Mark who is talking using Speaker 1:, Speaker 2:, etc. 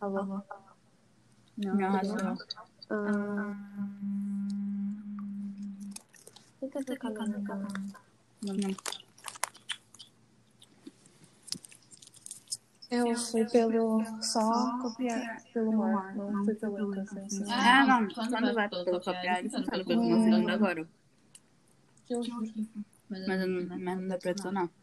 Speaker 1: Tá
Speaker 2: Alô?
Speaker 3: Não, não arrasou.
Speaker 2: Ah, tenta clicar no meu canal.
Speaker 3: Não, não.
Speaker 1: Eu fui pelo. Só copiar pelo mar. Não fui pelo Lucas. né?
Speaker 3: Ah, não. Quando vai pelo copiar, eles Hum. funcionam pelo que eu tô falando agora.
Speaker 1: Eu juro.
Speaker 3: Mas, eu não- mas não dá pra adicionar.